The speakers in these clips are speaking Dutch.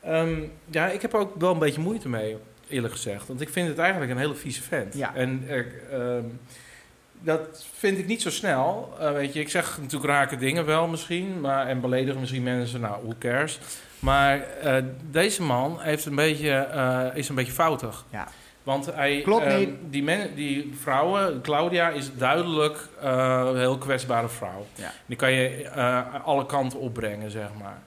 Ehm, ja, ik heb er ook wel een beetje moeite mee, eerlijk gezegd. Want ik vind het eigenlijk een hele vieze vent. Ja. En er, ehm, dat vind ik niet zo snel. Eh, weet je, ik zeg natuurlijk rake dingen wel misschien. Maar, en beledigen misschien mensen, nou, who cares. Maar eh, deze man heeft een beetje, eh, is een beetje foutig. Ja. Want hij, Klopt ehm, niet. die, men, die vrouwen, Claudia is duidelijk eh, een heel kwetsbare vrouw. Ja. Die kan je eh, alle kanten opbrengen, zeg maar.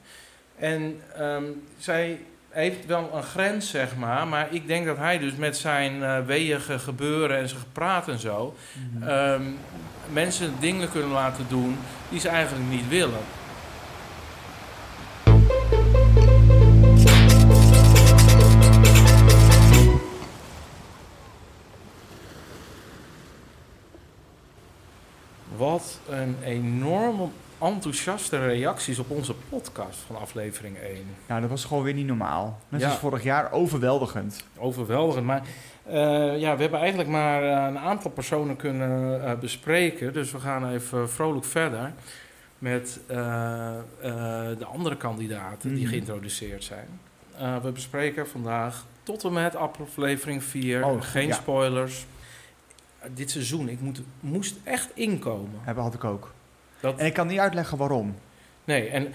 En ehm, zij heeft wel een grens, zeg maar. Maar ik denk dat hij dus met zijn eh weeëge gebeuren en zijn gepraat en zo... Mhm. ehm, mensen dingen kunnen laten doen die ze eigenlijk niet willen. Wat een enorme enthousiaste reacties op onze podcast van aflevering 1. Nou, dat was gewoon weer niet normaal. Net Ja. als vorig jaar, overweldigend. Overweldigend. Maar eh, ja, we hebben eigenlijk maar eh, een aantal personen kunnen eh, bespreken. Dus we gaan even vrolijk verder met eh, eh, de andere kandidaten die Mhm. geïntroduceerd zijn. Eh, we bespreken vandaag tot en met aflevering 4. Oh, Geen ja. spoilers. Dit seizoen, ik moet, moest echt inkomen. Hebben had ik ook. Dat- En ik kan niet uitleggen waarom. Nee, en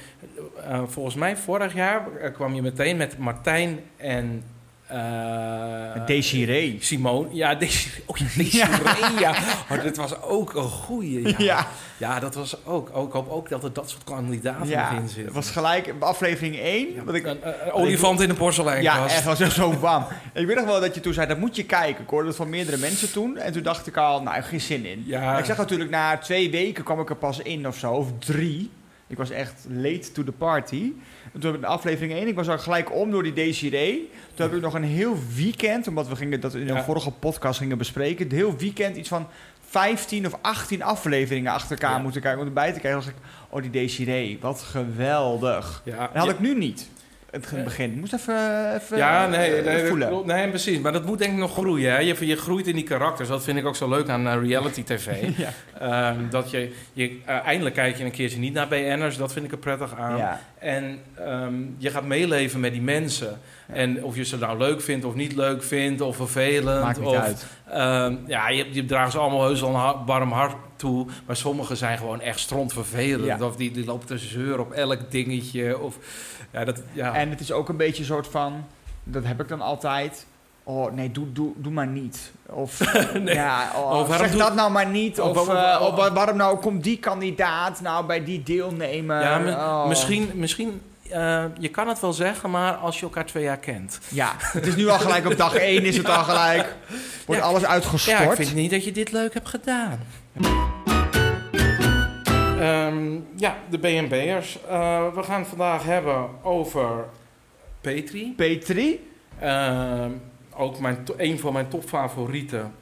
eh, volgens mij vorig jaar eh, kwam je meteen met Martijn en... eh, Desiree. Simone, ja, deze, oh ja, deze Ja. Rhea. Oh, dat was ook een goeie. Ja, ja. Ja. dat was ook. Oh, ik hoop ook dat er dat soort kandidaten Ja, in het zitten. was gelijk aflevering 1. Wat ik, een eh, eh, olifant in de porselein. ja, echt, was echt zo bam. ik weet nog wel dat je toen zei, dat moet je kijken. Ik hoorde het van meerdere mensen toen. En toen dacht ik al, nou, geen zin in. Ja. Ik zag natuurlijk, na twee weken kwam ik er pas in of zo, of drie. Ik was echt late to the party. En toen heb ik de aflevering 1, ik was al gelijk om door die Desiree. Toen heb ik nog een heel weekend, omdat we gingen dat in de Ja. vorige podcast gingen bespreken, het heel weekend iets van 15 of 18 afleveringen achter elkaar Ja. moeten kijken om erbij te kijken. Dan dacht ik, oh die Desiree, wat geweldig. Ja, Dat had ja. ik nu niet. Het ge- Eh. begin. Ik moest even, even Ja, nee, eh, nee, dat voelen. klopt. nee, precies. Maar dat moet denk ik nog groeien. Hè? Je, je groeit in die karakters. Dat vind ik ook zo leuk aan eh, reality tv. Ja. Ehm, dat je, je eh, eindelijk kijk je een keertje niet naar BN'ers. Dat vind ik er prettig aan. Ja. En ehm, je gaat meeleven met die mensen. En of je ze nou leuk vindt of niet leuk vindt, of vervelend. Maakt niet of, uit. ehm, ja, je, je draagt ze allemaal heus wel een ha- warm hart toe. Maar sommigen zijn gewoon echt strontvervelend. Ja. Of die, die lopen te zeuren op elk dingetje. Of, ja, dat, ja. En het is ook een beetje een soort van, dat heb ik dan altijd. Oh nee, doe, doe, doe maar niet. Of, ja, oh, waarom zeg doe- dat nou maar niet. Oh, Of, waarom- eh, oh, of wa- waarom nou komt die kandidaat nou bij die deelnemen? ja, mi- Oh. Misschien, misschien eh, je kan het wel zeggen, maar als je elkaar twee jaar kent. Ja, het is nu al gelijk op dag één is het al gelijk. Wordt Ja. alles Ja, ik uitgestort. vind niet dat je dit leuk hebt gedaan. Ehm, ja, de BNB'ers. Eh, we gaan het vandaag hebben over Petri. Petri. Ehm, ook mijn to- een van mijn topfavorieten,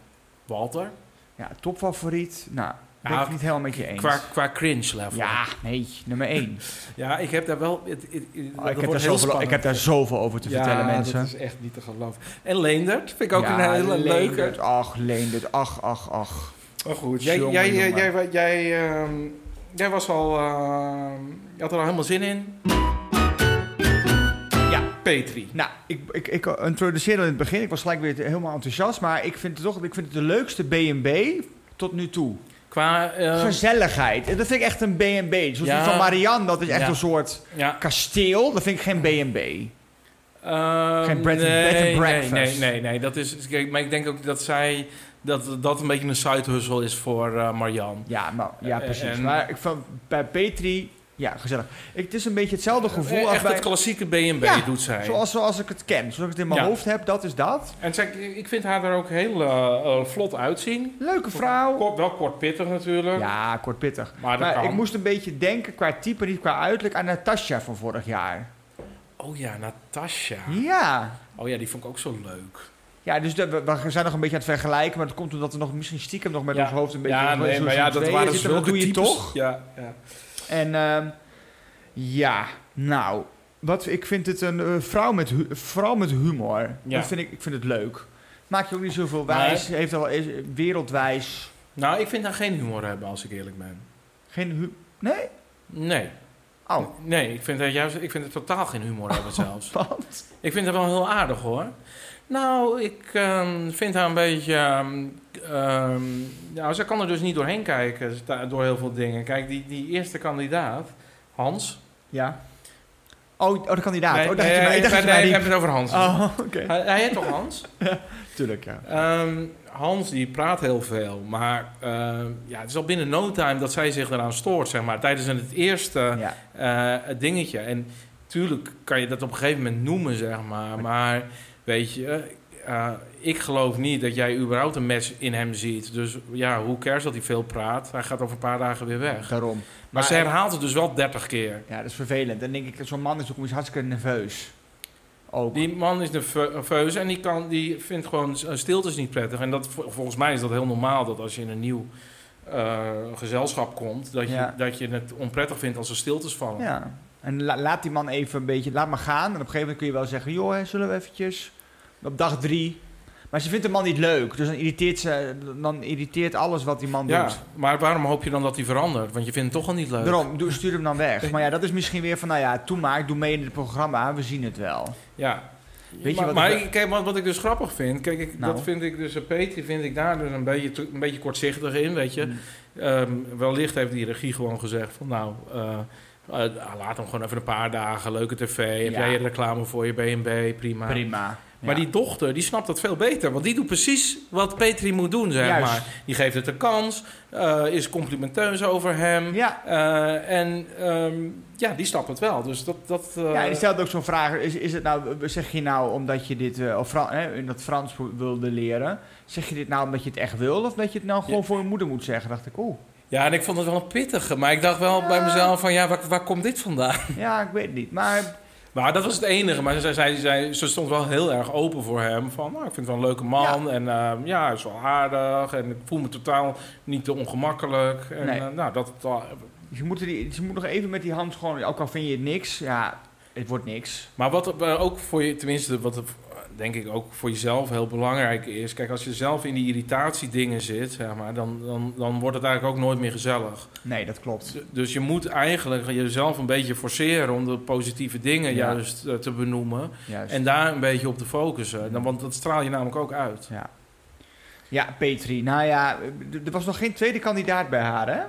Walter. Ja, topfavoriet. Nou, ben Ja, ik het niet helemaal met je eens. Qua, qua cringe level. Ja, nee, nummer één. Ja, ik heb daar wel... Het, het- het- Oh, dat ik, heb wordt daar heel zoveel, ik spannend. heb daar zoveel over te Ja, vertellen, mensen. dat is echt niet te geloven. En Leendert vind ik ook Ja, een hele leuke. Leendert, Ach, Leendert, ach, ach, ach. Maar goed, jij, Jongen, jij, jij, jij, jongen. jij, ehm, jij was al. ehm, je had er al helemaal zin in. Ja. Petri. Nou, ik, ik, ik introduceerde in het begin. Ik was gelijk weer helemaal enthousiast. Maar ik vind het toch ik vind het de leukste B&B tot nu toe. Qua. eh, Gezelligheid. En Dat vind ik echt een B&B. Zoals Ja. die van Marianne, dat is echt Ja. een soort ja. kasteel. Dat vind ik geen B&B. ehm, Geen bread and- nee, bed and nee, breakfast. Nee, nee, nee. Dat is, kijk, maar ik denk ook dat zij. Dat dat een beetje een side hustle is voor eh, Marianne. Ja, maar, ja Eh, precies. en- maar ik vond bij Petri... Ja, gezellig. Ik, het is een beetje hetzelfde gevoel Eh, als Echt bij... het klassieke B&B Ja, doet zij. Zoals, zoals ik het ken. Zoals ik het in mijn Ja. hoofd heb, dat is dat. En zij, ik vind haar er ook heel eh, eh, vlot uitzien. Leuke vrouw. Kort, wel kort pittig natuurlijk. Ja, kort pittig. Maar dat Maar kan. ik moest een beetje denken qua type, niet qua uiterlijk, aan Natasja van vorig jaar. Oh ja, Natasja. Hm? Ja. Oh ja, die vond ik ook zo leuk. Ja, dus dat- we, we zijn nog een beetje aan het vergelijken, maar dat komt omdat we nog misschien stiekem nog met Ja. ons hoofd een beetje... ja, zo- nee, zo- maar zo ja, dat tweeën waren dus zitten, maar zulke dat doe je types. toch? Ja, ja. En ehm, ja, nou, wat, ik vind het een eh, vrouw, met hu- vrouw met humor. Ja. Dat vind ik, ik vind het leuk. Maakt je ook niet zoveel Maar- wijs, heeft al is wereldwijs Nou, ik vind haar geen humor hebben, als ik eerlijk ben. geen hu- Nee? Nee. Oh, Nee, ik vind, het juist, ik vind het totaal geen humor hebben zelfs. wat? Ik vind haar wel heel aardig hoor. Nou, ik ehm, vind haar een beetje. ehm, ehm, nou, ze kan er dus niet doorheen kijken ze sta- door heel veel dingen. Kijk, die, die eerste kandidaat, Hans. Ja. Oh, oh de kandidaat. nee, oh, dacht je nee, maar, ik dacht nee, dat je nee, maar ik riep. heb het over Hans. Oh, oké. Hij, hij heet toch Hans? Tuurlijk, ja. Ehm, Hans die praat heel veel, maar ehm, ja, het is al binnen no time dat zij zich eraan stoort, zeg maar. Tijdens het eerste ja. eh, het dingetje. En tuurlijk kan je dat op een gegeven moment noemen, zeg maar. Maar weet je, eh, ik geloof niet dat jij überhaupt een match in hem ziet. Dus ja, hoe cares dat hij veel praat? Hij gaat over een paar dagen weer weg. Daarom. Maar ze herhaalt het dus wel 30 keer. Ja, dat is vervelend. Dan denk ik, zo'n man is ook eens hartstikke nerveus. Ook. Die man is nerveus en die, kan, die vindt gewoon s- stiltes niet prettig. En dat, vol- volgens mij is dat heel normaal dat als je in een nieuw eh, gezelschap komt, dat je, Ja. dat je het onprettig vindt als er stiltes vallen. Ja. En la- laat die man even een beetje, laat maar gaan. En op een gegeven moment kun je wel zeggen, joh, hè, zullen we eventjes op dag drie. Maar ze vindt de man niet leuk. Dus dan irriteert, ze, dan irriteert alles wat die man Ja, doet. maar waarom hoop je dan dat hij verandert? Want je vindt het toch al niet leuk. Daarom, doe- stuur hem dan weg. Maar ja, dat is misschien weer van, nou ja, toen maar, doe mee in het programma, we zien het wel. Ja. Weet je maar wat maar ik- ik, kijk, wat, wat ik dus grappig vind, kijk, ik, Nou. dat vind ik dus, eh, Peter vind ik daar dus een beetje, te- een beetje kortzichtig in, weet je. Mm. Ehm, wellicht heeft die regie gewoon gezegd van, nou, eh, eh, laat hem gewoon even een paar dagen, leuke tv, heb Ja. jij je reclame voor je B&B, prima. Prima. Maar Ja. die dochter, die snapt dat veel beter. Want die doet precies wat Petri moet doen, zeg Juist. maar. Die geeft het een kans, eh, is complimenteus over hem. Ja. eh, en ehm, ja, die snapt het wel. Dus dat... dat eh, Ja, en je stelt ook zo'n vraag. Is, is het nou, zeg je nou omdat je dit, eh, of Fran- hè, in dat Frans wilde leren, zeg je dit nou omdat je het echt wil of dat je het nou gewoon voor je moeder moet zeggen? Dacht ik, oeh. Ja, en ik vond het wel een pittige. Maar ik dacht wel bij mezelf van, ja, waar, waar komt dit vandaan? Ja, ik weet het niet. Maar Maar dat was het enige. Maar ze, zei, zei, ze stond wel heel erg open voor hem. Van, nou, ik vind het wel een leuke man. En ehm, ja, hij is wel aardig. En ik voel me totaal niet te ongemakkelijk. En, Nee. eh, nou, dat... dat- je moet, er die, je moet nog even met die hand gewoon, ook al vind je het niks, ja, het wordt niks. maar wat eh, ook voor je, tenminste, wat eh, denk ik ook voor jezelf heel belangrijk is. Kijk, als je zelf in die irritatiedingen zit, zeg maar, dan, dan, dan wordt het eigenlijk ook nooit meer gezellig. Nee, dat klopt. D- Dus je moet eigenlijk jezelf een beetje forceren om de positieve dingen Ja. juist eh, te benoemen. Juist. En daar een beetje op te focussen. Dan, want dat straal je namelijk ook uit. ja. ja, Petri. Nou ja, er er was nog geen tweede kandidaat bij haar, hè?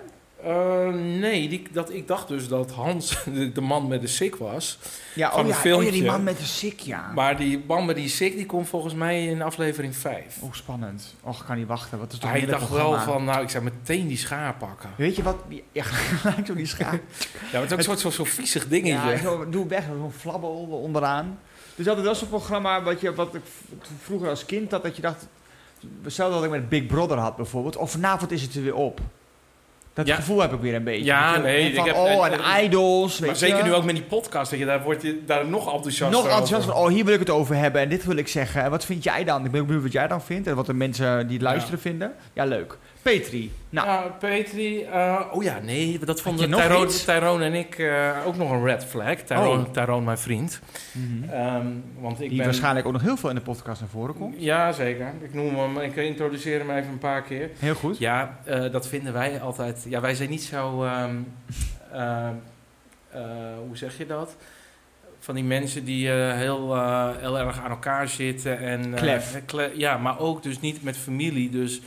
Eh, nee, die, dat, ik dacht dus dat Hans de, de man met de sik was. Ja, Van oh een ja, oh ja, filmpje. die man met de sik, ja. Maar die man met die sik die komt volgens mij in aflevering 5. Oh, spannend. Och, ik kan niet wachten. Wat is toch Hij een heerlijk dacht wel programma. van, nou, ik zou meteen die schaar pakken. Weet je wat? Ja, gelijk zo die schaar. Ja, maar het is ook een soort van zo'n viezig dingetje. Ja, zo, doe weg, zo'n flabbel onderaan. Dus dat was zo'n programma wat, je, wat ik v- vroeger als kind had, dat je dacht... Hetzelfde dat ik met Big Brother had bijvoorbeeld. Of vanavond is het er weer op. Dat Ja. gevoel heb ik weer een beetje. Ja, En nee, Van, ik heb- oh, eh, en idols. maar weet zeker je. nu ook met die podcast, dat je daar, wordt je daar nog enthousiaster Nog enthousiast over. van, oh, hier wil ik het over hebben en dit wil ik zeggen. En wat vind jij dan? Ik ben ook benieuwd wat jij dan vindt en wat de mensen die het luisteren vinden. Ja, leuk. Petri. Nou, Ja, Petri. eh, oh ja, nee, dat vonden je nog Tyrone, iets? Tyrone en ik eh, ook nog een red flag. Tyrone, Oh. Tyrone mijn vriend. mhm. Ehm, want ik die ben... waarschijnlijk ook nog heel veel in de podcast naar voren komt. Ja, zeker. Ik noem hem, ik introduceer hem even een paar keer. Heel goed. Ja, eh, dat vinden wij altijd... Ja, wij zijn niet zo... ehm, ehm, eh, hoe zeg je dat? Van die mensen die eh, heel, eh, heel erg aan elkaar zitten. En, eh, Klef. kle- ja, maar ook dus niet met familie. Dus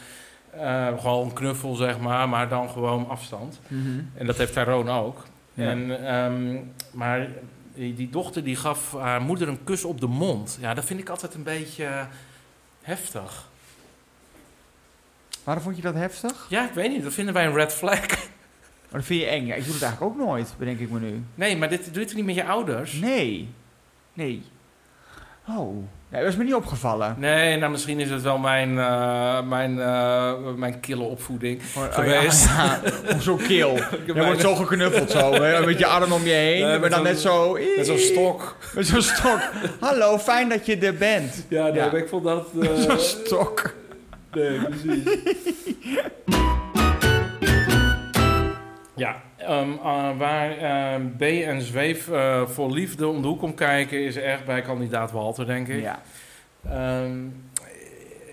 eh, gewoon een knuffel, zeg maar. Maar dan gewoon afstand. Mhm. En dat heeft Tyrone ook. Ja. En, ehm, maar die, die dochter die gaf haar moeder een kus op de mond. Ja, dat vind ik altijd een beetje eh, heftig. Waarom vond je dat heftig? Ja, ik weet niet. Dat vinden wij een red flag. Maar dat vind je eng. Ja, ik doe het eigenlijk ook nooit, bedenk ik me nu. Nee, maar dit doet het niet met je ouders. Nee. Nee. Oh. Ja, dat is me niet opgevallen. Nee, nou misschien is het wel mijn, eh, mijn, eh, mijn kille opvoeding. Oh, oh, Geweest. Ja, ja. Zo kil. Je wordt zo geknuffeld zo. Hè? Met je arm om je heen. Nee, maar met dan zo'n- net zo... Met zo'n stok. Met zo'n stok. Hallo, fijn dat je er bent. Ja, nee, Ja. maar ik vond dat... Met eh, zo'n stok. Nee, precies. Ja, ehm, eh, waar ehm, B en Zweef eh, voor liefde om de hoek om kijken is echt bij kandidaat Walter, denk ik. Ja. Ehm,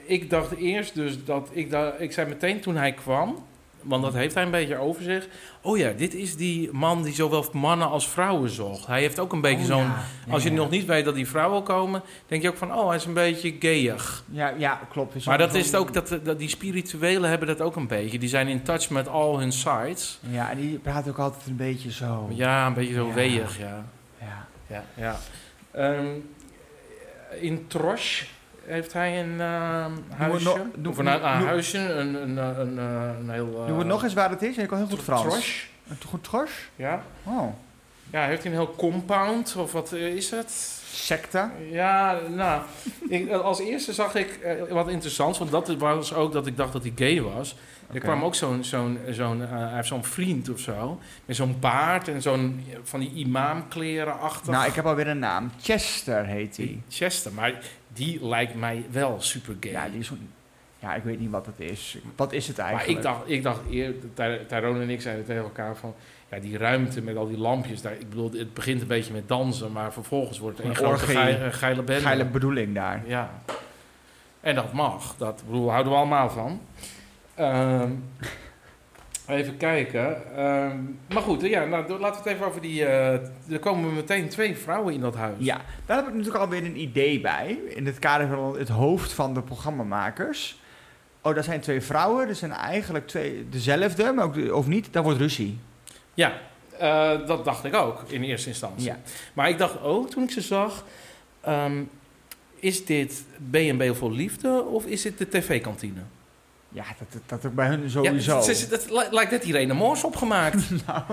ik dacht eerst dus dat ik, da ik zei meteen toen hij kwam, Want dat heeft hij een beetje over zich. Oh ja, dit is die man die zowel mannen als vrouwen zocht. Hij heeft ook een beetje Oh zo'n... Als je nog niet weet dat die vrouwen komen, denk je ook van... Oh, hij is een beetje gayig. Ja, ja klopt. Is Maar ook dat zo'n- is het ook, dat, eh, dat, die spirituelen hebben dat ook een beetje. Die zijn in touch met al hun sites. Ja, en die praat ook altijd een beetje zo. Ja, een beetje zo Ja. weeg, ja. Ja. Ja, ja. Ehm, in Trosh heeft hij een ehm, huisje. nog- doe- of een, een doe- huisje, een, een, een, een, eh, een heel... eh, Doe het nog eens waar het is. En ik kan heel goed tr- Frans. Trosh, Een goed trosh? ja. Oh. Ja, heeft hij een heel compound, of wat eh, is het? Secta. Ja, nou, ik, als eerste zag ik eh, wat interessants, want dat was ook dat ik dacht dat hij gay was. Er Oké. kwam ook zo'n, zo'n, zo'n, eh, hij heeft zo'n vriend of zo, met zo'n baard en zo'n, eh, van die imamkleren achter. Nou, ik heb alweer een naam. Chester heet hij. Chester, maar die lijkt mij wel super gay. Ja, die is zo'n- Ja, ik weet niet wat het is. Wat is het Maar eigenlijk? ik dacht, ik dacht eer, Ty- Tyrone en ik zeiden tegen elkaar van... Ja, die ruimte met al die lampjes daar. Ik bedoel, het begint een beetje met dansen, maar vervolgens wordt het een Een grote orgie. gei- eh, geile bende. Geile bedoeling daar. Ja. En dat mag. Dat ik bedoel, houden we allemaal van. Ehm, even kijken. Ehm, maar goed, eh, ja, nou, do- laten we het even over die... eh, er komen meteen twee vrouwen in dat huis. Ja, daar heb ik natuurlijk alweer een idee bij. In het kader van het hoofd van de programmamakers. Oh, daar zijn twee vrouwen. Er zijn eigenlijk twee dezelfde, maar ook de- of niet, dan wordt ruzie. Ja, eh, dat dacht ik ook in eerste instantie. Ja. Maar ik dacht ook toen ik ze zag: ehm, is dit B&B voor liefde of is dit de tv-kantine? Ja, dat, dat, dat ook bij hun sowieso. Ja, ze- ze- dat li- lijkt net Irene Moors opgemaakt. Ja,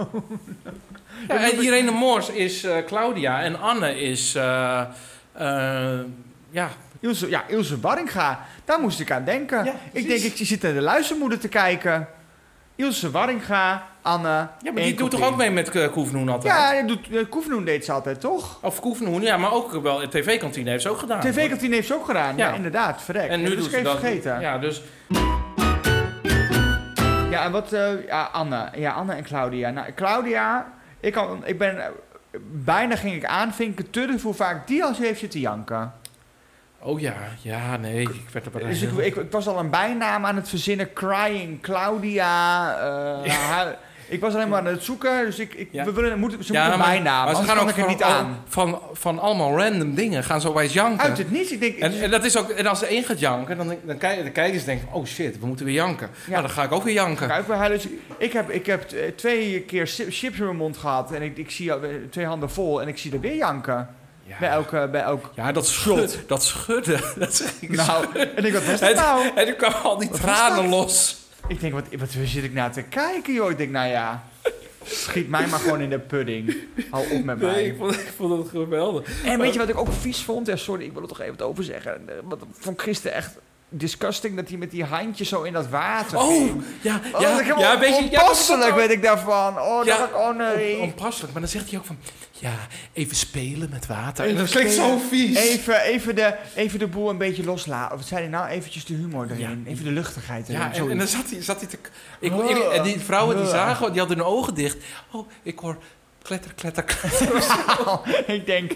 Ja, en Irene Moors is eh, Claudia en Anne is. eh, eh, ja, Ilse, ja, Ilse Warringa, daar moest ik aan denken. Ja, ik denk, precies. ik zit naar de luistermoeder te kijken. Ilse Warringa, Anne. ja, maar en die doet toch Coppie. ook mee met eh, Koefnoen altijd? Ja, dat doet, eh, Koefnoen deed ze altijd, toch? Of Koefnoen, ja, maar ook wel. de TV-kantine heeft ze ook gedaan. TV-kantine heeft ze ook gedaan. Ja, Ja. inderdaad, verrek. En nu dat doet is ze dat. vergeten. Ja. Ja, dus en wat... eh, ja, Anne. Ja, Anne en Claudia. Nou, Claudia, ik, kan, ik ben... eh, bijna ging ik aanvinken, turf hoe vaak die al heeft zitten janken. Oh ja, ja, nee, ik werd er bijna Dus ik, heel- ik, ik was al een bijnaam aan het verzinnen. Crying, Claudia. eh, haar- ik was alleen maar aan het zoeken. Dus ik, ik, Ja. we willen, moeten, ze Ja, moeten maar- bijnaam. maar Anders kan ik er niet van, aan. Van, van allemaal random dingen gaan zo wijs janken. Uit het niets. Ik denk, en, en, dat is ook, en als er één gaat janken, dan, dan, kijk, dan kijken ze en denken... van, oh shit, we moeten weer janken. Ja. Nou, dan ga ik ook weer janken. Kijk, bij haar, dus ik heb, ik heb eh, twee keer si- chips in mijn mond gehad. En ik, ik zie al- eh, twee handen vol. En ik zie er weer janken. Bij Ja, elke... Bij elk, ja dat, schud, dat schudden. Dat zeg ik zo. nou, en ik wat was dat Het- nou? En er kwamen al die Wat is tranen dat? los. Ik denk, wat, wat zit ik nou te kijken, joh? Ik denk, nou ja... Schiet mij maar gewoon in de pudding. Hou op met mij. Nee, ik vond, ik vond het geweldig. En weet je wat ik ook vies vond? Ja, sorry, ik wil er toch even wat over zeggen. Eh, Wat vond gisteren echt disgusting dat hij met die handjes zo in dat water Oh, ging. ja, Oh, ja, dat ik ja, helemaal weet je... ja, dat is onpasselijk ook- weet ik daarvan. Oh, Ja, dat ik, oh nee. on- Onpasselijk, maar dan zegt hij ook van... Ja, even spelen met water. En Even dat klinkt zo spelen. vies. Even, even, de, even de boel een beetje loslaten. Of wat zei hij nou? Eventjes de humor erin. Even de luchtigheid erin. Ja, en, zoiets. en dan zat hij, zat hij te... k- Ik, Ah. ik- en die vrouwen die Ah. zagen, die hadden hun ogen dicht. Oh, ik hoor kletter, kletter, kletter. ik denk,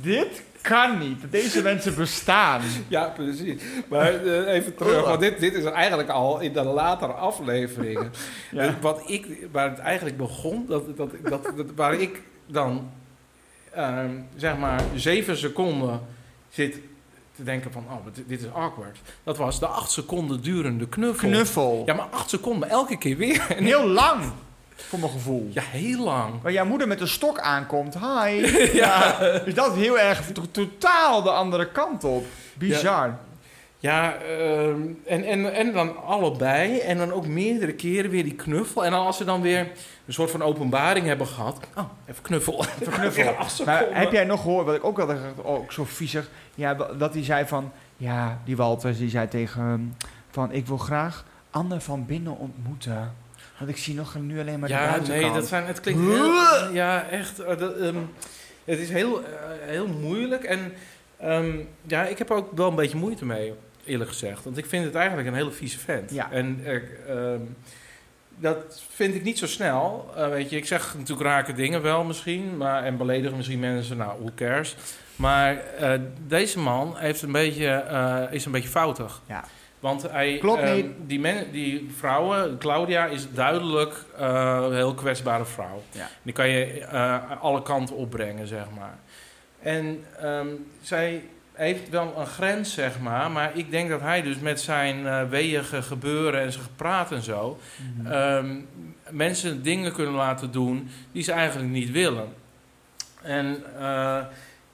dit kan niet. Dat deze mensen bestaan. Ja, precies. Maar eh, even terug, want dit, dit is eigenlijk al in de latere afleveringen. Ja. Eh, Wat ik, waar het eigenlijk begon, dat, dat, dat, dat, waar ik dan ehm, zeg maar zeven seconden zit te denken van, oh, dit, dit is awkward. Dat was de acht seconden durende knuffel. Knuffel. Ja, maar acht seconden, elke keer weer. En heel lang, voor mijn gevoel. Ja, heel lang. Waar jouw moeder met een stok aankomt. Hi. ja. Is dat heel erg to- totaal de andere kant op. Bizar. Ja, ehm, en, en, en dan allebei. En dan ook meerdere keren weer die knuffel. En dan als ze dan weer een soort van openbaring hebben gehad. Oh, even knuffel. Even knuffel. maar Maar heb jij nog gehoord, wat ik ook wel dacht, ook zo viezig. Ja, wa- dat hij zei van, ja, die Walters, die zei tegen hem van, ik wil graag Anne van binnen ontmoeten. Want ik zie nog nu alleen maar de ja, buitenkant. nee, dat zijn, het klinkt heel... Ja, echt. eh, dat, ehm, het is heel, eh, heel moeilijk. En ehm, ja, ik heb er ook wel een beetje moeite mee, eerlijk gezegd. Want ik vind het eigenlijk een hele vieze vent. Ja. En ik, ehm, dat vind ik niet zo snel. Eh, weet je, ik zeg natuurlijk rake dingen wel misschien. Maar, en beledigen misschien mensen. Nou, who cares. Maar eh, deze man heeft een beetje, eh, is een beetje foutig. Ja. Want hij, Klopt ehm, niet. Die, men, die vrouwen, Claudia is duidelijk eh, een heel kwetsbare vrouw. Ja. Die kan je eh, alle kanten opbrengen, zeg maar. En ehm, zij heeft wel een grens, zeg maar. Maar ik denk dat hij dus met zijn eh, weeënge gebeuren en zijn gepraat en zo... Mhm. ehm, mensen dingen kunnen laten doen die ze eigenlijk niet willen. En eh,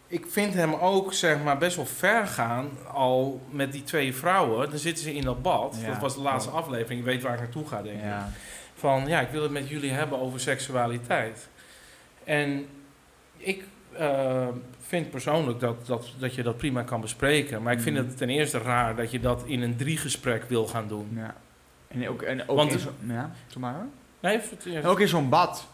ik vind hem ook zeg maar, best wel ver gaan al met die twee vrouwen. Dan zitten ze in dat bad. Ja. Dat was de laatste aflevering. Je weet waar ik naartoe ga, denk ik ja. van ja, ik wil het met jullie hebben over seksualiteit. En ik eh, vind persoonlijk dat, dat, dat je dat prima kan bespreken. Maar ik vind Mhm. het ten eerste raar dat je dat in een driegesprek wil gaan doen. ja. En ook, en ook Want- in zo'n... Ja, doe maar hoor. Nee, vertel- En ook in zo'n bad.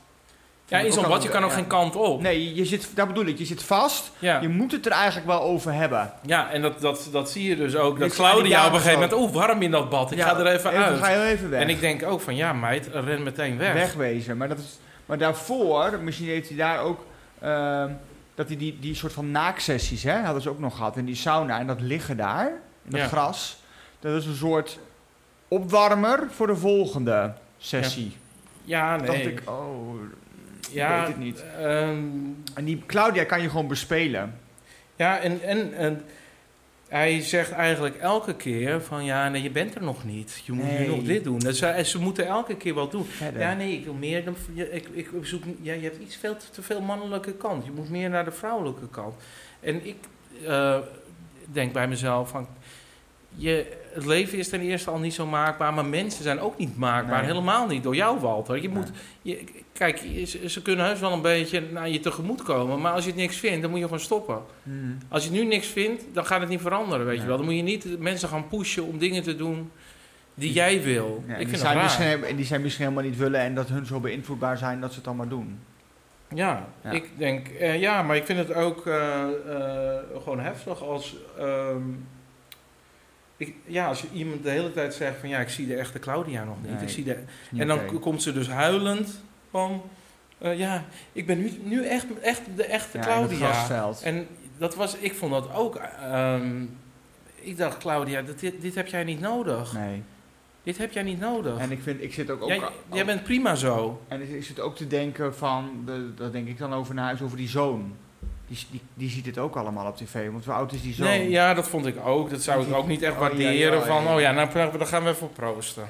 ja, in zo'n bad, je kan ook ja. geen kant op. Nee, je zit, daar bedoel ik, je zit vast. Ja. Je moet het er eigenlijk wel over hebben. ja, en dat, dat, dat zie je dus ook. Ik Dat sta die Claudia op een dagen gegeven moment, oeh, warm in dat bad. Ik Ja, ga er even, Even, uit. ga heel even weg. En ik denk ook van ja, meid, ren meteen weg. wegwezen. Maar, dat is, maar daarvoor, misschien heeft hij daar ook... ehm, dat hij die, die soort van naaksessies, hè, hadden ze ook nog gehad. In die sauna en dat liggen daar, in dat Ja. gras. Dat is een soort opwarmer voor de volgende sessie. Ja, Dacht nee. ik, oh... ja, weet het niet. ehm, En die Claudia kan je gewoon bespelen. Ja, en, en, en hij zegt eigenlijk elke keer van ja, nee, je bent er nog niet. Je moet Nee. nu nog dit doen. Dus ze, ze moeten elke keer wat doen. Verder. Ja, nee, ik wil meer. Dan, ja, ik, ik zoek, ja, je hebt iets veel te, te veel mannelijke kant. Je moet meer naar de vrouwelijke kant. En ik eh, denk bij mezelf van. Je, het leven is ten eerste al niet zo maakbaar, maar mensen zijn ook niet maakbaar. Nee. Helemaal niet door jou, Walter. Je Nee. moet, je, kijk, je- ze- ze kunnen heus wel een beetje naar je tegemoet komen, maar als je het niks vindt, dan moet je gewoon stoppen. Hmm. Als je nu niks vindt, dan gaat het niet veranderen, weet Nee. je wel. Dan moet je niet mensen gaan pushen om dingen te doen die jij wil. Ja, en ik die, vind dat zijn dus raar. misschien, en die zijn misschien helemaal niet willen en dat hun zo beïnvloedbaar zijn dat ze het allemaal doen. Ja, Ja. ik denk... eh, ja, maar ik vind het ook eh, eh, gewoon heftig als... ehm, ik, ja, als je iemand de hele tijd zegt van... Ja, ik zie de echte Claudia nog niet. Nee, ik zie de, Is niet en dan oké. k- komt ze dus huilend van... eh, ja, ik ben nu, nu echt, echt de echte Ja, in het Claudia. grasveld. En dat was, ik vond dat ook. ehm, ik dacht, Claudia, dit, dit, dit heb jij niet nodig. Nee. Dit heb jij niet nodig. En ik vind, ik zit ook... ook jij, jij bent prima zo. En ik, ik zit ook te denken van, de, daar denk ik dan over naar huis, over die zoon. Die, die, die ziet het ook allemaal op tv, want hoe oud is die zoon? Nee, ja, dat vond ik ook. Dat zou ik ook niet echt Oh, ja, waarderen. ja, van, ja. oh ja, nou, pra- dan gaan we even proosten.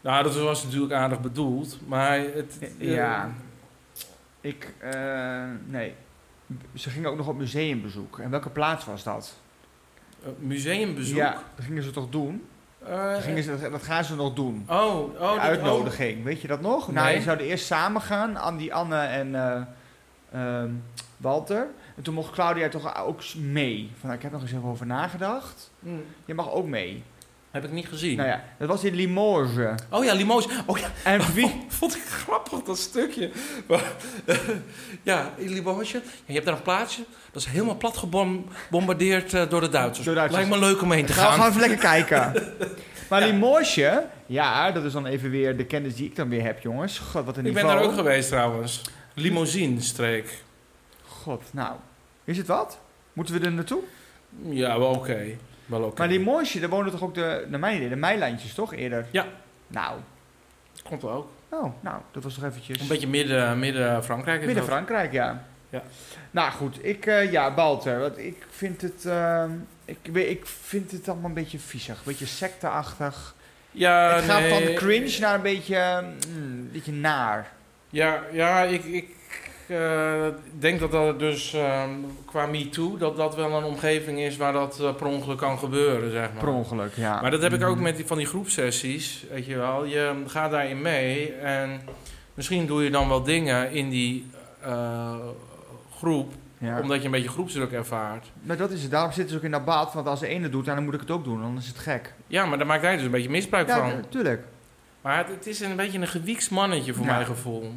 Nou, dat was natuurlijk aardig bedoeld. Maar het... eh, Ja. Ik, eh, nee. B- Ze gingen ook nog op museumbezoek. En welke plaats was dat? eh, museumbezoek. Ja, dat gingen ze toch doen? Eh, Dat, gingen ze, dat, dat gaan ze nog doen. Oh, oh. dat- De oh. uitnodiging, weet je dat nog? Nou, Nee. ze zouden eerst samen gaan, An- die Anne en eh, ehm, Walter. En toen mocht Claudia toch ook s- mee. Van, nou, ik heb nog eens even over nagedacht. Hm, Je mag ook mee. heb ik niet gezien. Nou ja, dat was in Limoges. Oh ja, limoges. Oh ja, En wie? Vond- Vond ik grappig, dat stukje. Maar, ja, in Limoges. Ja, je hebt daar een plaatsje. Dat is helemaal plat gebombardeerd door de Duitsers. Door de Duitsers. Lijkt me leuk om heen te Gaan we gaan. gewoon even lekker kijken. Maar Limoges, ja, dat is dan even weer de kennis die ik dan weer heb, jongens. God, wat een Ik ben niveau. daar ook geweest trouwens. Limousinestreek. God, nou. Is het wat? Moeten we er naartoe? Ja, wel oké. Wel oké. Maar Limoges, daar wonen toch ook de, naar mijn idee, de Meilandjes, toch? Eerder? Ja. Nou, Komt ook. oh, nou, dat was toch eventjes... Een beetje midden, midden eh, Frankrijk. is Midden dat. Frankrijk, ja. Ja. Nou goed, ik, eh, ja, Walter, want ik vind het, ehm, ik, weet- ik vind het allemaal een beetje viezig, een beetje secteachtig. Ja, het gaat nee. van cringe naar een beetje, mm, een beetje naar. Ja, ja ik, ik eh, denk dat dat dus ehm qua MeToo... dat dat wel een omgeving is waar dat eh, per ongeluk kan gebeuren, zeg maar. Per ongeluk, ja. Maar dat heb ik ook Mhm. met die, van die groepsessies, weet je wel. Je gaat daarin mee en misschien doe je dan wel dingen in die eh, groep... Ja. omdat je een beetje groepsdruk ervaart. Maar dat is het, daarom zitten ze ook in dat bad, want als de ene doet, dan moet ik het ook doen, dan is het gek. Ja, maar daar maakt hij dus een beetje misbruik Ja, van. natuurlijk. Maar het, het is een beetje een gewieks mannetje voor Ja. mijn gevoel.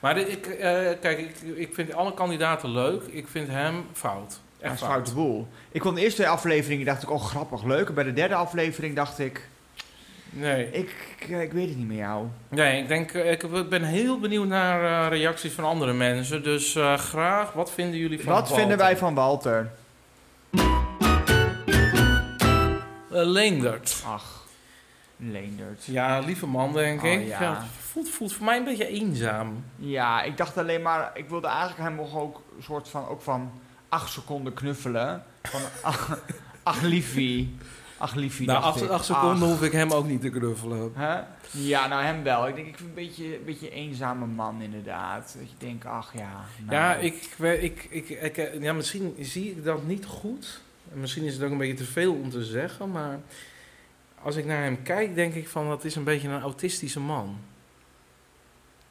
Maar dit- ik, eh, kijk, ik, ik vind alle kandidaten leuk. Ik vind hem fout. Ja, Echt het is fout. foute boel. Ik kon de eerste twee afleveringen, dacht ik, oh grappig, leuk. En bij de derde aflevering dacht ik, Nee. ik, ik, ik weet het niet meer jou. nee, ik denk, eh, ik ben heel benieuwd naar eh, reacties van andere mensen. Dus eh, graag, wat vinden jullie van Wat vinden Walter? wij van Walter? eh, Leendert. Ach, Leendert. Ja, lieve man, denk Oh, ik. ja. het voelt, voelt voor mij een beetje eenzaam. Ja, ik dacht alleen maar, ik wilde eigenlijk hem nog ook een soort van, ook van acht seconden knuffelen. Van ach, ach liefie. Ach liefie, Na dacht acht, ik. acht seconden Ach. hoef ik hem ook niet te knuffelen. Hè? Ja, nou hem wel. Ik denk, ik vind een beetje een beetje een eenzame man inderdaad. Dat je denkt, ach ja. nou. Ja, ik, we- ik, ik, ik, eh, ja, misschien zie ik dat niet goed. En Misschien is het ook een beetje te veel om te zeggen, maar als ik naar hem kijk, denk ik van dat is een beetje een autistische man.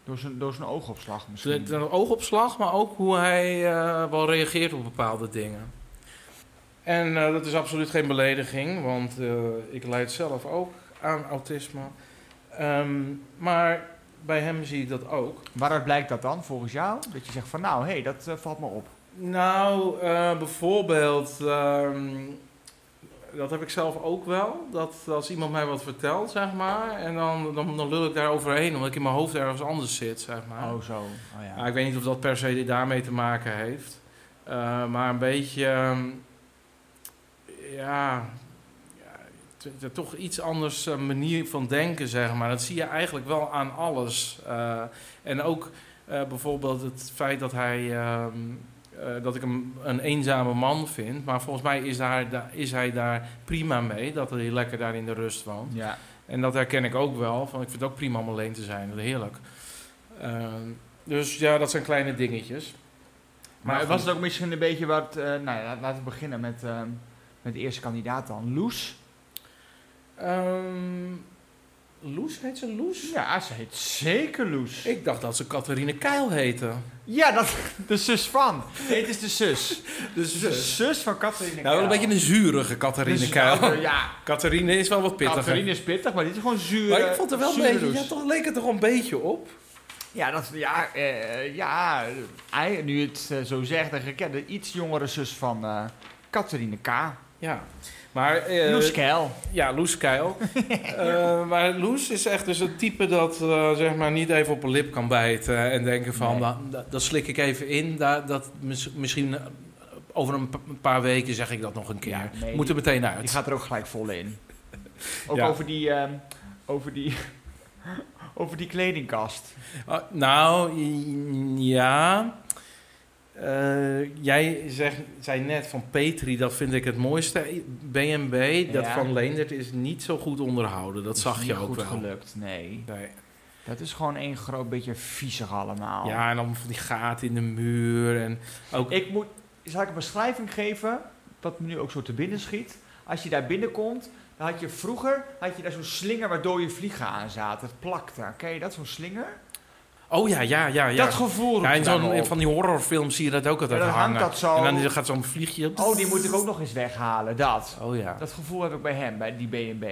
Door zijn, door zijn oogopslag misschien. Dus een oogopslag, maar ook hoe hij eh, wel reageert op bepaalde dingen. En eh, dat is absoluut geen belediging, want eh, ik leid zelf ook aan autisme. Ehm, maar bij hem zie ik dat ook. Waaruit blijkt dat dan, volgens jou? Dat je zegt van, nou, hé, hey, dat eh, valt me op. Nou, eh, bijvoorbeeld, ehm, dat heb ik zelf ook wel. Dat als iemand mij wat vertelt, zeg maar, en dan, dan, dan lul ik daar overheen, omdat ik in mijn hoofd ergens anders zit, zeg maar. Oh, zo. Oh, ja. Ah, ik weet niet of dat per se daarmee te maken heeft. Eh, maar een beetje, ehm, ja, ja, t- t- toch iets anders eh, manier van denken, zeg maar. Dat zie je eigenlijk wel aan alles. Eh, en ook eh, bijvoorbeeld het feit dat hij, ehm, eh, dat ik hem een eenzame man vind. Maar volgens mij is, daar, da- is hij daar prima mee, dat hij lekker daar in de rust woont. ja. En dat herken ik ook wel. Van, ik vind het ook prima om alleen te zijn. Heerlijk. Ehm, dus ja, dat zijn kleine dingetjes. Maar Maar was goed. het ook misschien een beetje wat... eh, nou ja, laten we beginnen met, ehm, met de eerste kandidaat dan. Loes. Ehm, Loes, heet ze Loes? Ja, ze heet zeker Loes. Ik dacht dat ze Catharine Keil heette. Ja, dat, de zus van. Nee, het is de zus. Dus De zus van Catharine Nou, wel een Keil. beetje een zurige Catharine Dus- Keil. Ja, Catharine eh, is wel wat pittiger. Catharine is pittig, maar dit is gewoon zuur. Maar ik vond er wel een beetje... Ja, Ja, toch leek het er wel een beetje op. ja, dat, ja, eh, ja hij, nu je het eh, zo zegt, dan herken de iets jongere zus van eh Catharine K. Ja. Maar... eh, Loes Keil. Ja, Loes Keil. Eh, maar Loes is echt dus het type dat eh, zeg maar niet even op een lip kan bijten. En denken van, Nee. "Nou, dat, dat slik ik even in. Dat, dat mis- misschien eh, over een, pa- een paar weken zeg ik dat nog een keer. Ja, nee, Moet er meteen Die uit. gaat er ook gelijk vol in. Ook Ja. over die... ehm, over die over die kledingkast. Ah, nou, i- ja. Eh, jij zegt, zei net van Petri, dat vind ik het mooiste. BNB, dat Ja. van Leendert is niet zo goed onderhouden. Dat Is zag je niet ook goed wel. gelukt, nee. Nee. Dat is gewoon één groot beetje viezig allemaal. Ja, en dan van die gaten in de muur. En ook Ik moet, zal ik een beschrijving geven, wat me nu ook zo te binnen schiet. Als je daar binnenkomt, dan had je vroeger had je daar zo'n slinger waardoor je vliegen aan zaten. Het plakte. Ken je dat, zo'n slinger? Oh ja, ja, ja. ja. Dat gevoel roept ja, in het dan zo'n- op. van die horrorfilms zie je dat ook Ja, altijd dan hangt hangen. dat zo. En dan gaat zo'n vliegje... Oh, die moet ik ook nog eens weghalen, dat. Oh ja. Dat gevoel heb ik bij hem, bij die B&B.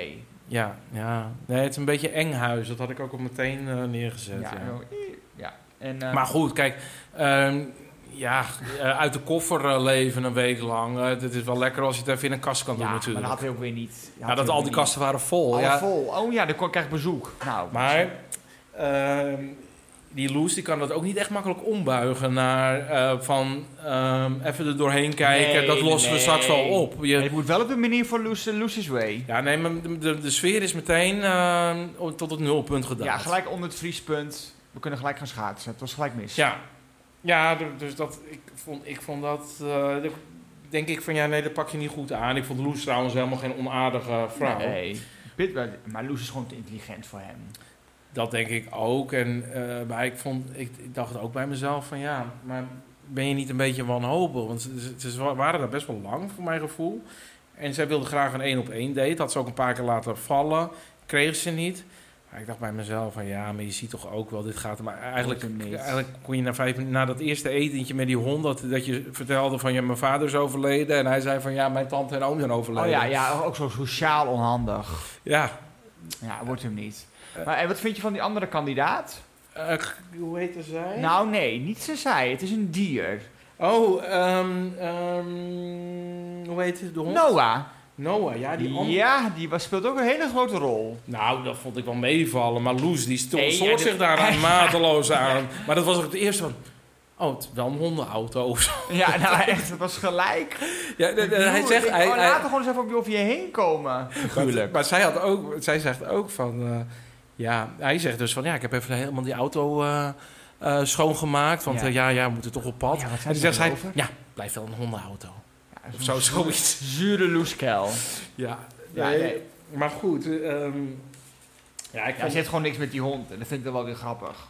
Ja, ja. Nee, het is een beetje eng huis. Dat had ik ook al meteen eh, neergezet. Ja, zo, ja. En, eh, Maar goed, kijk. ehm, ja, eh, uit de koffer eh, leven een week lang. Eh, Het is wel lekker als je het even in een kast kan ja, doen maar natuurlijk. dat had hij ook weer niet. ja, dat al die kasten waren vol. Al ja. vol. Oh ja, dan kon- krijg ik bezoek. Nou, Maar ehm, die Loes die kan dat ook niet echt makkelijk ombuigen naar eh, van ehm, even er doorheen kijken. Nee, dat lossen nee. we straks wel op. Je, het moet wel op de manier van Lucy- Lucy's Way. Ja, nee, maar de, de, de sfeer is meteen ehm, tot het nulpunt gedaan. Ja, gelijk onder het vriespunt. We kunnen gelijk gaan schaatsen. Het was gelijk mis. Ja, ja d- dus dat, ik, vond, ik vond dat... eh, denk ik van, ja, nee, dat pak je niet goed aan. Ik vond Loes trouwens helemaal geen onaardige vrouw. Nee. Pit- maar- maar Loes is gewoon te intelligent voor hem. Dat denk ik ook. En, eh, maar ik, vond, ik, ik dacht ook bij mezelf van, ja, maar ben je niet een beetje wanhopig? Want ze, ze- ze waren daar best wel lang, voor mijn gevoel. En zij wilde graag een één-op-één date. Had ze ook een paar keer laten vallen. Kreeg ze niet. Maar ik dacht bij mezelf van, ja, maar je ziet toch ook wel, dit gaat... Maar eigenlijk, Wordt hem niet. eigenlijk kon je na, vijf, minuten- na dat eerste etentje met die hond... Dat, dat je vertelde van, ja, mijn vader is overleden. En hij zei van, ja, mijn tante en oom zijn overleden. Oh ja, ja, ook zo sociaal onhandig. Ja. Ja, wordt hem niet. Maar en wat vind je van die andere kandidaat? Eh, g- hoe heette zij? Nou nee, niet ze zij. Het is een dier. Oh, ehm, ehm, hoe heet het? De hond? Noah. Noah, ja, die andere. Ja, die was, speelt ook een hele grote rol. Nou, dat vond ik wel meevallen. Maar Loes, die stond, Nee, stoort ja, dit- zich daar aan mateloos aan. Maar dat was ook het eerste van... Oh, het is wel een hondenauto of zo. Ja, nou echt, het was gelijk. Ja, de- de- hij Ik zegt... denk, Hij, oh, hij- laat er gewoon eens even op je- over je heen komen. maar, maar zij, had ook, zij zegt ook van... eh, ja, hij zegt dus van... Ja, ik heb even helemaal die auto eh, eh, schoongemaakt. Want Ja. ja. ja, ja, we moeten toch op pad. Ja, wat en zei toen ze zegt zij... erover? Ja, blijf wel een hondenauto. Ja, Of zo, zoiets. Zure loeskel. Ja, Ja, nee, nee. maar goed. eh, ehm, ja, ik Ja, hij vond- zegt gewoon niks met die hond. En dat vind ik dan wel weer grappig.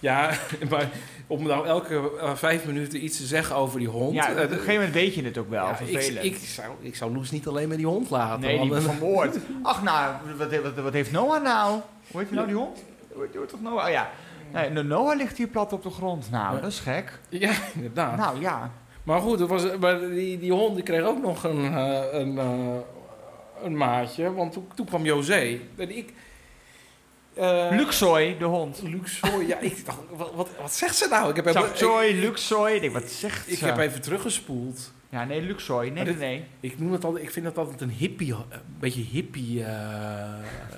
ja, maar om nou elke eh, vijf minuten iets te zeggen over die hond... ja, eh, op een gegeven moment weet je het ook wel. ja, ik, vervelend. ik, zou, ik zou Loes niet alleen met die hond laten. nee, want die dan- vermoord. Ach, nou, wat, he- wat, wat heeft Noah nou? Hoe heet je nou die hond? Hoe heet- hoe heet toch Noah? Oh ja. Nee, nou, Noah ligt hier plat op de grond. Nou, Ja. dat is gek. Ja, inderdaad. Nou ja. Maar goed, het was, maar die, die hond die kreeg ook nog een, eh, een, eh, een maatje. Want toen, toen kwam José. En ik... eh, Luxoy, de hond. Luxoy. Ja, ik dacht, wat, wat, wat zegt ze nou? Ik heb, even, ik, Chapsoy, Luxoy. Ik denk, wat zegt ik ze? heb even teruggespoeld. Ja, nee, Luxoy. Nee, Maar nee, dit- nee. Ik, noem het altijd, ik vind dat altijd een hippie... Een beetje hippie... eh,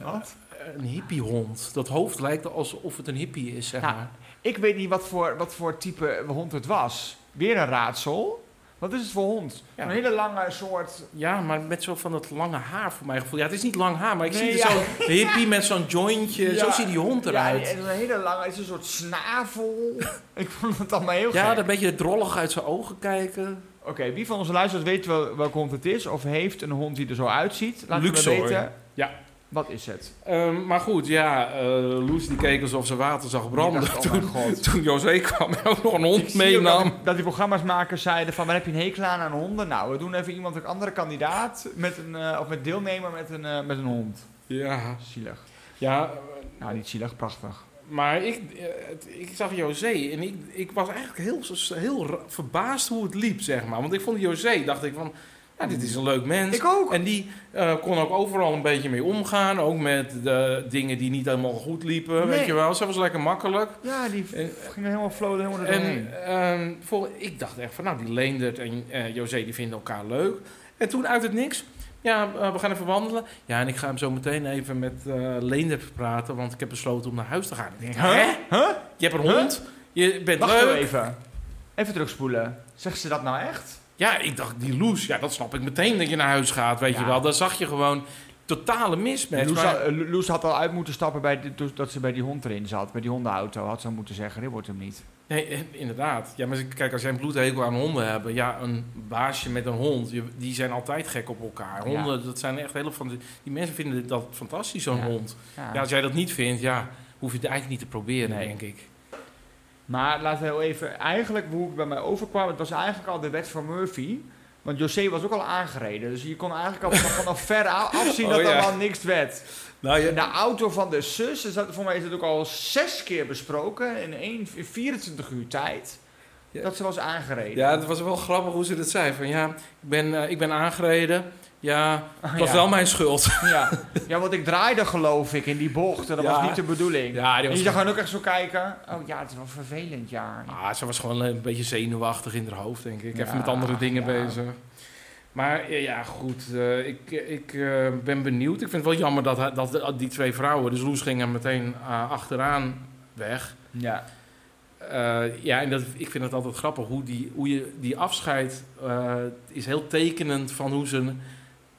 Wat? Een hippiehond. Dat hoofd lijkt alsof het een hippie is, zeg Ja. maar. Ik weet niet wat voor, wat voor type hond het was. Weer een raadsel. Wat is het voor hond? Ja. Een hele lange soort... Ja, maar met zo van dat lange haar voor mijn gevoel. Ja, het is niet lang haar, maar ik Nee, zie er ja. zo'n hippie met zo'n jointje. Ja. Zo ziet die hond eruit. Ja, en een hele lange... Het is een soort snavel. ik vond het allemaal heel Ja, gek. dat een beetje drollig uit zijn ogen kijken. Oké, wie van onze luisteraars weet wel welke hond het is? Of heeft een hond die er zo uitziet? Laat het me Luxor. weten. Ja. Wat is het? Ehm, maar goed, ja, eh, Loes die keek alsof ze water zag branden. Ik dacht, oh toen, mijn god. toen José kwam en ook nog een hond Ik zie ook meenam. Dat, dat die programma's-makers zeiden van, waar heb je een hekel aan aan honden? Nou, we doen even iemand, een andere kandidaat, met een, eh, of met deelnemer met een, eh, met een hond. Ja, Zielig. ja eh, Nou, niet zielig, prachtig. maar ik, eh, het- ik zag José en ik, ik was eigenlijk heel, s- heel ra- verbaasd hoe het liep, zeg maar. Want ik vond José, dacht ik van, ja, dit is een leuk mens. Ik ook. En die eh, kon ook overal een beetje mee omgaan. Ook met de dingen die niet helemaal goed liepen, Nee. weet je wel. Ze was lekker makkelijk. Ja, die v- En- ging er helemaal flow helemaal doorheen. En ehm, voor, ik dacht echt van, nou, die Leendert en eh, José, die vinden elkaar leuk. En toen uit het niks, ja, eh, we gaan even wandelen. Ja, en ik ga hem zo meteen even met eh Leendert praten, want ik heb besloten om naar huis te gaan. Ik denk, hè? Huh? Je hebt een Huh? hond, je bent Wacht leuk. nou even. Even terugspoelen. Zegt ze dat nou echt? Ja, ik dacht, die Loes, ja, dat snap ik meteen dat je naar huis gaat, weet Ja. je wel. Daar zag je gewoon totale mismatch. Loes Maar- had, eh, Lo- Loes had al uit moeten stappen bij de- toen- dat ze bij die hond erin zat. Bij die hondenauto. Had ze al moeten zeggen, dit wordt hem niet. Nee, eh, inderdaad. Ja, maar kijk, als jij een bloedhekel aan honden hebben, ja, een baasje met een hond, je- die zijn altijd gek op elkaar. Ja. Honden, dat zijn echt hele van die, die mensen vinden dat fantastisch zo'n Ja. hond. Ja, als jij dat niet vindt, ja, hoef je het eigenlijk niet te proberen, Nee. denk ik. Maar laten we heel even, eigenlijk hoe het bij mij overkwam, het was eigenlijk al de wet van Murphy. Want José was ook al aangereden, dus je kon eigenlijk al vanaf, vanaf ver a- afzien Oh, dat ja. er wel niks werd. Nou, De auto van de zus, is dat, voor mij is dat ook al zes keer besproken in, één, in 24 uur tijd, Ja. dat ze was aangereden. ja, het was wel grappig hoe ze dat zei. Van ja, ik ben, eh, ik ben aangereden. Ja, Ah, dat was ja. wel mijn schuld. Ja. ja, want ik draaide geloof ik in die bocht en dat Ja. was niet de bedoeling. Ja, die En was je zag gewoon ook echt zo kijken, oh ja, het is wel vervelend, ja. Ah, ze was gewoon een beetje zenuwachtig in haar hoofd, denk ik. Ja, Even met andere dingen ja. bezig. Maar eh, ja, goed. eh, ik ik eh, ben benieuwd. Ik vind het wel jammer dat, hij- dat eh, die twee vrouwen... Dus Loes ging er meteen eh, achteraan weg. Ja, Eh, ja, en dat, ik vind het altijd grappig. Hoe, die, hoe je die afscheid eh, is heel tekenend van hoe ze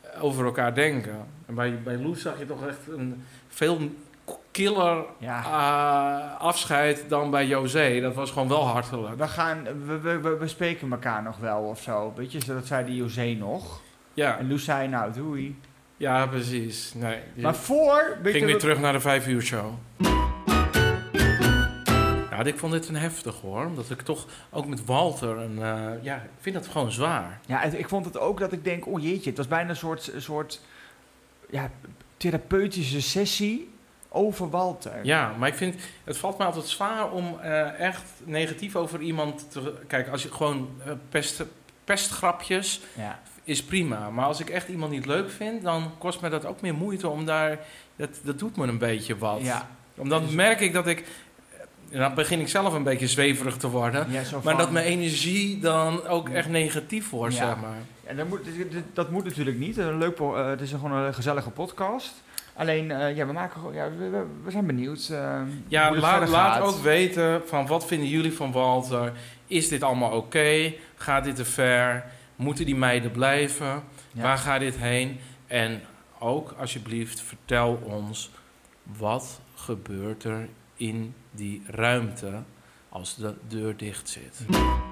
eh, over elkaar denken. En bij, bij Loes zag je toch echt een veel killer ja. eh, afscheid dan bij José. Dat was gewoon wel hartelijk. We, gaan, we, we, we bespreken elkaar nog wel of zo. Weet je, dat zei die José nog. Ja. En Loes zei, nou doei. Ja, precies. Nee. die- Maar voor... weet je ging weer wat- terug naar de vijf uur show. Nou, ik vond dit een heftig hoor. Omdat ik toch ook met Walter een. eh, ja, ik vind dat gewoon zwaar. Ja, het- ik vond het ook dat ik denk, oh jeetje, het was bijna een soort, een soort ja, therapeutische sessie over Walter. Ja, maar ik vind. Het valt me altijd zwaar om eh, echt negatief over iemand te. Kijk, als je gewoon eh, pest, pestgrapjes Ja. is prima. Maar als ik echt iemand niet leuk vind, dan kost me dat ook meer moeite om daar. Dat, dat doet me een beetje wat. Ja, Omdat merk ik dat ik. eh, Dan begin ik zelf een beetje zweverig te worden. ja, zo Maar van- dat mijn energie dan ook echt negatief wordt, Ja. zeg maar. En dat, moet, dat moet natuurlijk niet. Het is een leuk po- eh, het is gewoon een gezellige podcast. Alleen, eh, ja, we, maken, gewoon- ja, we, we- we zijn benieuwd eh, Ja, hoe het laat, verder laat gaat. ook weten van wat vinden jullie van Walter? Is dit allemaal oké? Gaat dit te ver? Moeten die meiden blijven? Ja. Waar gaat dit heen? En ook alsjeblieft vertel ons wat gebeurt er in die ruimte als de deur dicht zit.